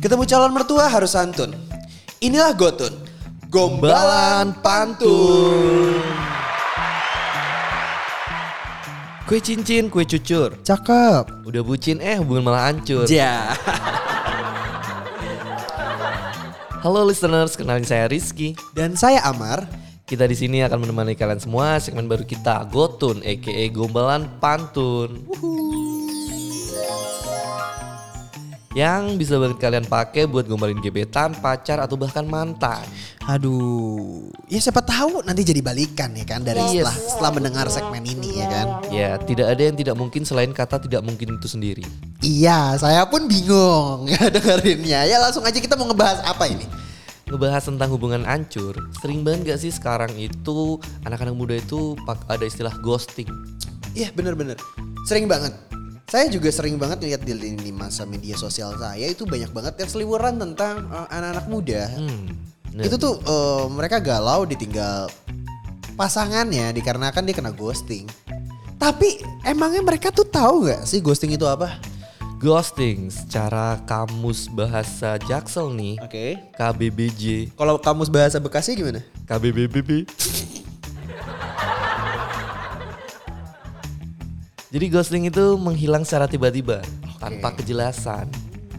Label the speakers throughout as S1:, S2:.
S1: Ketemu calon mertua harus santun. Inilah Gotun. Gombalan
S2: Gombalan
S1: pantun.
S2: Kue cincin, kue cucur.
S3: Cakep.
S2: Udah bucin eh hubungan malah hancur.
S1: Ja.
S2: Halo listeners, kenalin saya Rizky.
S1: Dan saya Amar.
S2: Kita di sini akan menemani kalian semua segmen baru kita Gotun, EKE Gombalan Pantun. Yang bisa banget kalian pakai buat gombalin gebetan, pacar atau bahkan mantan.
S1: Aduh, ya siapa tahu nanti jadi balikan ya kan dari
S2: Yes.
S1: setelah setelah mendengar segmen ini ya kan.
S2: Ya, tidak ada yang tidak mungkin selain kata tidak mungkin itu sendiri.
S1: Iya, saya pun bingung dengerinnya. Ya langsung aja kita mau ngebahas apa ini?
S2: Ngebahas tentang hubungan hancur, sering banget gak sih sekarang itu anak-anak muda itu pak- ada istilah ghosting.
S1: Iya bener-bener, sering banget. Saya juga sering banget lihat di, di di masa media sosial saya itu banyak banget yang seliweran tentang eh, anak-anak muda.
S2: Hmm, bener.
S1: Itu tuh eh, mereka galau ditinggal pasangannya dikarenakan dia kena ghosting. Tapi emangnya mereka tuh tahu nggak sih ghosting itu apa?
S2: Ghosting secara kamus bahasa Jaksel nih
S1: Oke.
S2: KBBJ
S1: Kalau kamus bahasa Bekasi gimana?
S2: KBBBB Jadi ghosting itu menghilang secara tiba-tiba tanpa kejelasan.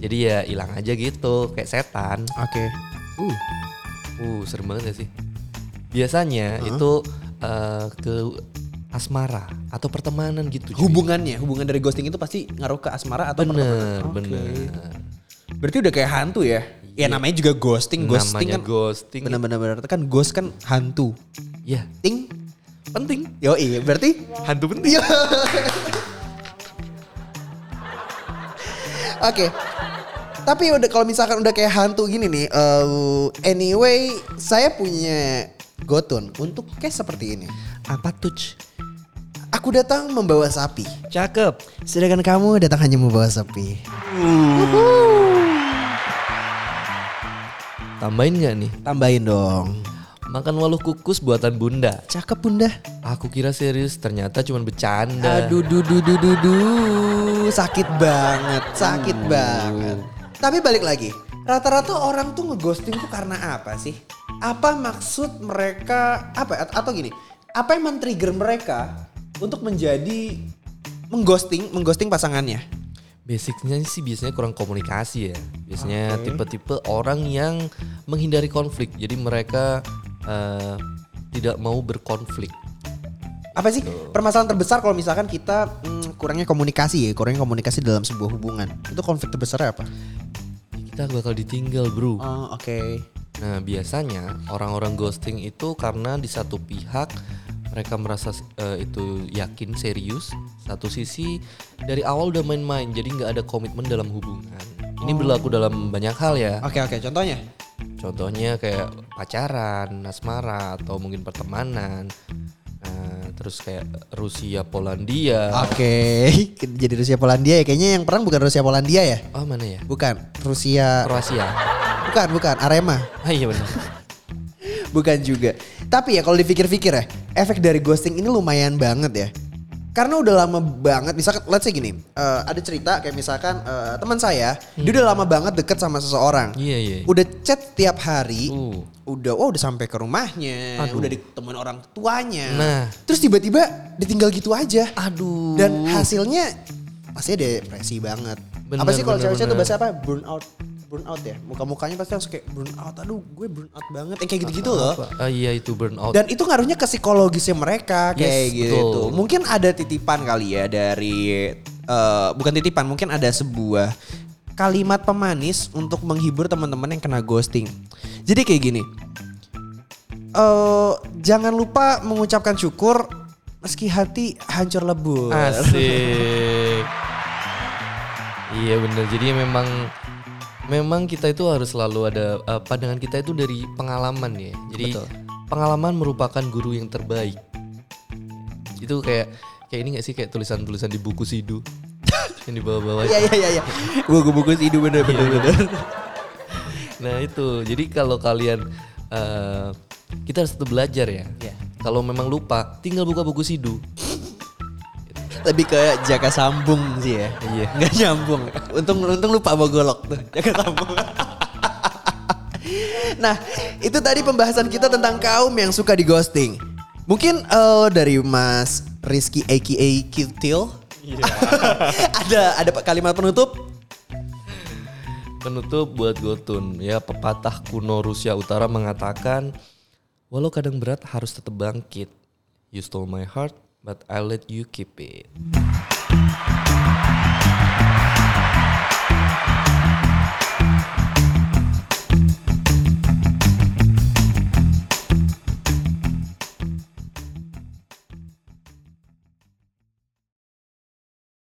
S2: Jadi ya hilang aja gitu kayak setan.
S1: Oke. Uh.
S2: Uh, serem banget gak sih? Biasanya itu eh, ke asmara atau pertemanan gitu. cuy.
S1: Hubungannya, hubungan dari ghosting itu pasti ngaruh ke asmara atau
S2: bener,
S1: pertemanan. Oke.
S2: bener.
S1: Berarti udah kayak hantu ya? Ya namanya juga ghosting, ghosting
S2: Iya. Namanya
S1: kan
S2: ghosting.
S1: benar-benar benar kan ghost kan hantu.
S2: Ya,
S1: Ting.
S2: penting.
S1: Yo iya berarti
S2: Hantu penting.
S1: Yo. Oke. Tapi udah kalau misalkan udah kayak hantu gini nih, eh, anyway saya punya gotun untuk case seperti ini.
S2: Apa tuh?
S1: Aku datang membawa sapi.
S2: Cakep.
S1: Sedangkan kamu datang hanya membawa sapi.
S2: Tambahin nggak nih?
S1: Tambahin dong.
S2: Makan waluh kukus buatan bunda.
S1: Cakep bunda.
S2: Aku kira serius, ternyata cuma bercanda.
S1: Aduh, du, du, du, du, du. sakit banget, sakit banget. Tapi balik lagi, rata-rata orang tuh ngeghosting tuh karena apa sih? Apa maksud mereka? Apa at- atau gini? Apa yang men-trigger mereka untuk menjadi mengghosting, mengghosting pasangannya?
S2: Basicnya sih biasanya kurang komunikasi ya. Biasanya tipe-tipe orang yang menghindari konflik. Jadi mereka eh, tidak mau berkonflik.
S1: Apa sih permasalahan terbesar kalau misalkan kita hmm, kurangnya komunikasi ya, kurangnya komunikasi dalam sebuah hubungan? Itu konflik terbesarnya apa?
S2: Kita bakal ditinggal, bro.
S1: Oh, oke.
S2: Nah, biasanya orang-orang ghosting itu karena di satu pihak mereka merasa eh, itu yakin serius, satu sisi dari awal udah main-main, jadi nggak ada komitmen dalam hubungan. Ini berlaku dalam banyak hal ya.
S1: Oke, oke, contohnya.
S2: Contohnya kayak pacaran, asmara, atau mungkin pertemanan. Nah, terus kayak Rusia, Polandia.
S1: Ah. Oke, jadi Rusia Polandia ya kayaknya yang perang bukan Rusia Polandia ya?
S2: Oh, mana ya?
S1: Bukan, Rusia
S2: Kroasia.
S1: bukan, bukan Arema.
S2: Ah iya benar.
S1: Bukan juga. Tapi ya kalau dipikir-pikir ya, efek dari ghosting ini lumayan banget ya. Karena udah lama banget, misalkan let's say gini, eh, ada cerita kayak misalkan eh, teman saya, dia udah lama banget deket sama seseorang.
S2: Iya, iya.
S1: Udah chat tiap hari,
S2: Uh.
S1: udah oh udah sampai ke rumahnya,
S2: Aduh.
S1: udah ditemuin orang tuanya.
S2: Nah.
S1: Terus tiba-tiba ditinggal gitu aja.
S2: Aduh.
S1: dan hasilnya pasti depresi banget.
S2: Bener,
S1: apa sih kalau
S2: bener,
S1: cewek-cewek tuh
S2: bener.
S1: bahasa apa? Burnout. Burnout ya. Muka-mukanya pasti langsung kayak burnout. Aduh, gue burnout banget. Yang kayak gitu-gitu loh.
S2: Ah, iya itu burnout.
S1: Dan itu ngaruhnya ke psikologisnya mereka kayak
S2: Yes,
S1: gitu.
S2: betul.
S1: Mungkin ada titipan kali ya dari eh, bukan titipan, mungkin ada sebuah kalimat pemanis untuk menghibur teman-teman yang kena ghosting. Jadi kayak gini. Eh jangan lupa mengucapkan syukur meski hati hancur lebur.
S2: Asik. iya bener. Jadi memang memang kita itu harus selalu ada eh, pandangan kita itu dari pengalaman ya. Jadi
S1: Betul.
S2: pengalaman merupakan guru yang terbaik. Itu kayak kayak ini gak sih kayak tulisan-tulisan di buku Sidu yang di bawah-bawah.
S1: Iya iya iya iya. Buku-buku hidup bener bener bener.
S2: Nah itu, jadi kalau kalian eh, kita harus tetap belajar ya.
S3: Iya.
S2: Kalau memang lupa, tinggal buka buku sidu.
S3: Lebih kayak jaga sambung sih ya.
S2: Iya.
S3: Nggak nyambung. Untung untung lupa bawa golok tuh. Jaga sambung.
S1: Nah, itu tadi pembahasan kita tentang kaum yang suka di ghosting. Mungkin eh, dari Mas Rizky aka Kiltil.
S3: Iya.
S1: ada ada kalimat penutup?
S2: Penutup buat Gotun, ya pepatah kuno Rusia Utara mengatakan, walau kadang berat harus tetap bangkit. You stole my heart, but I let you keep it.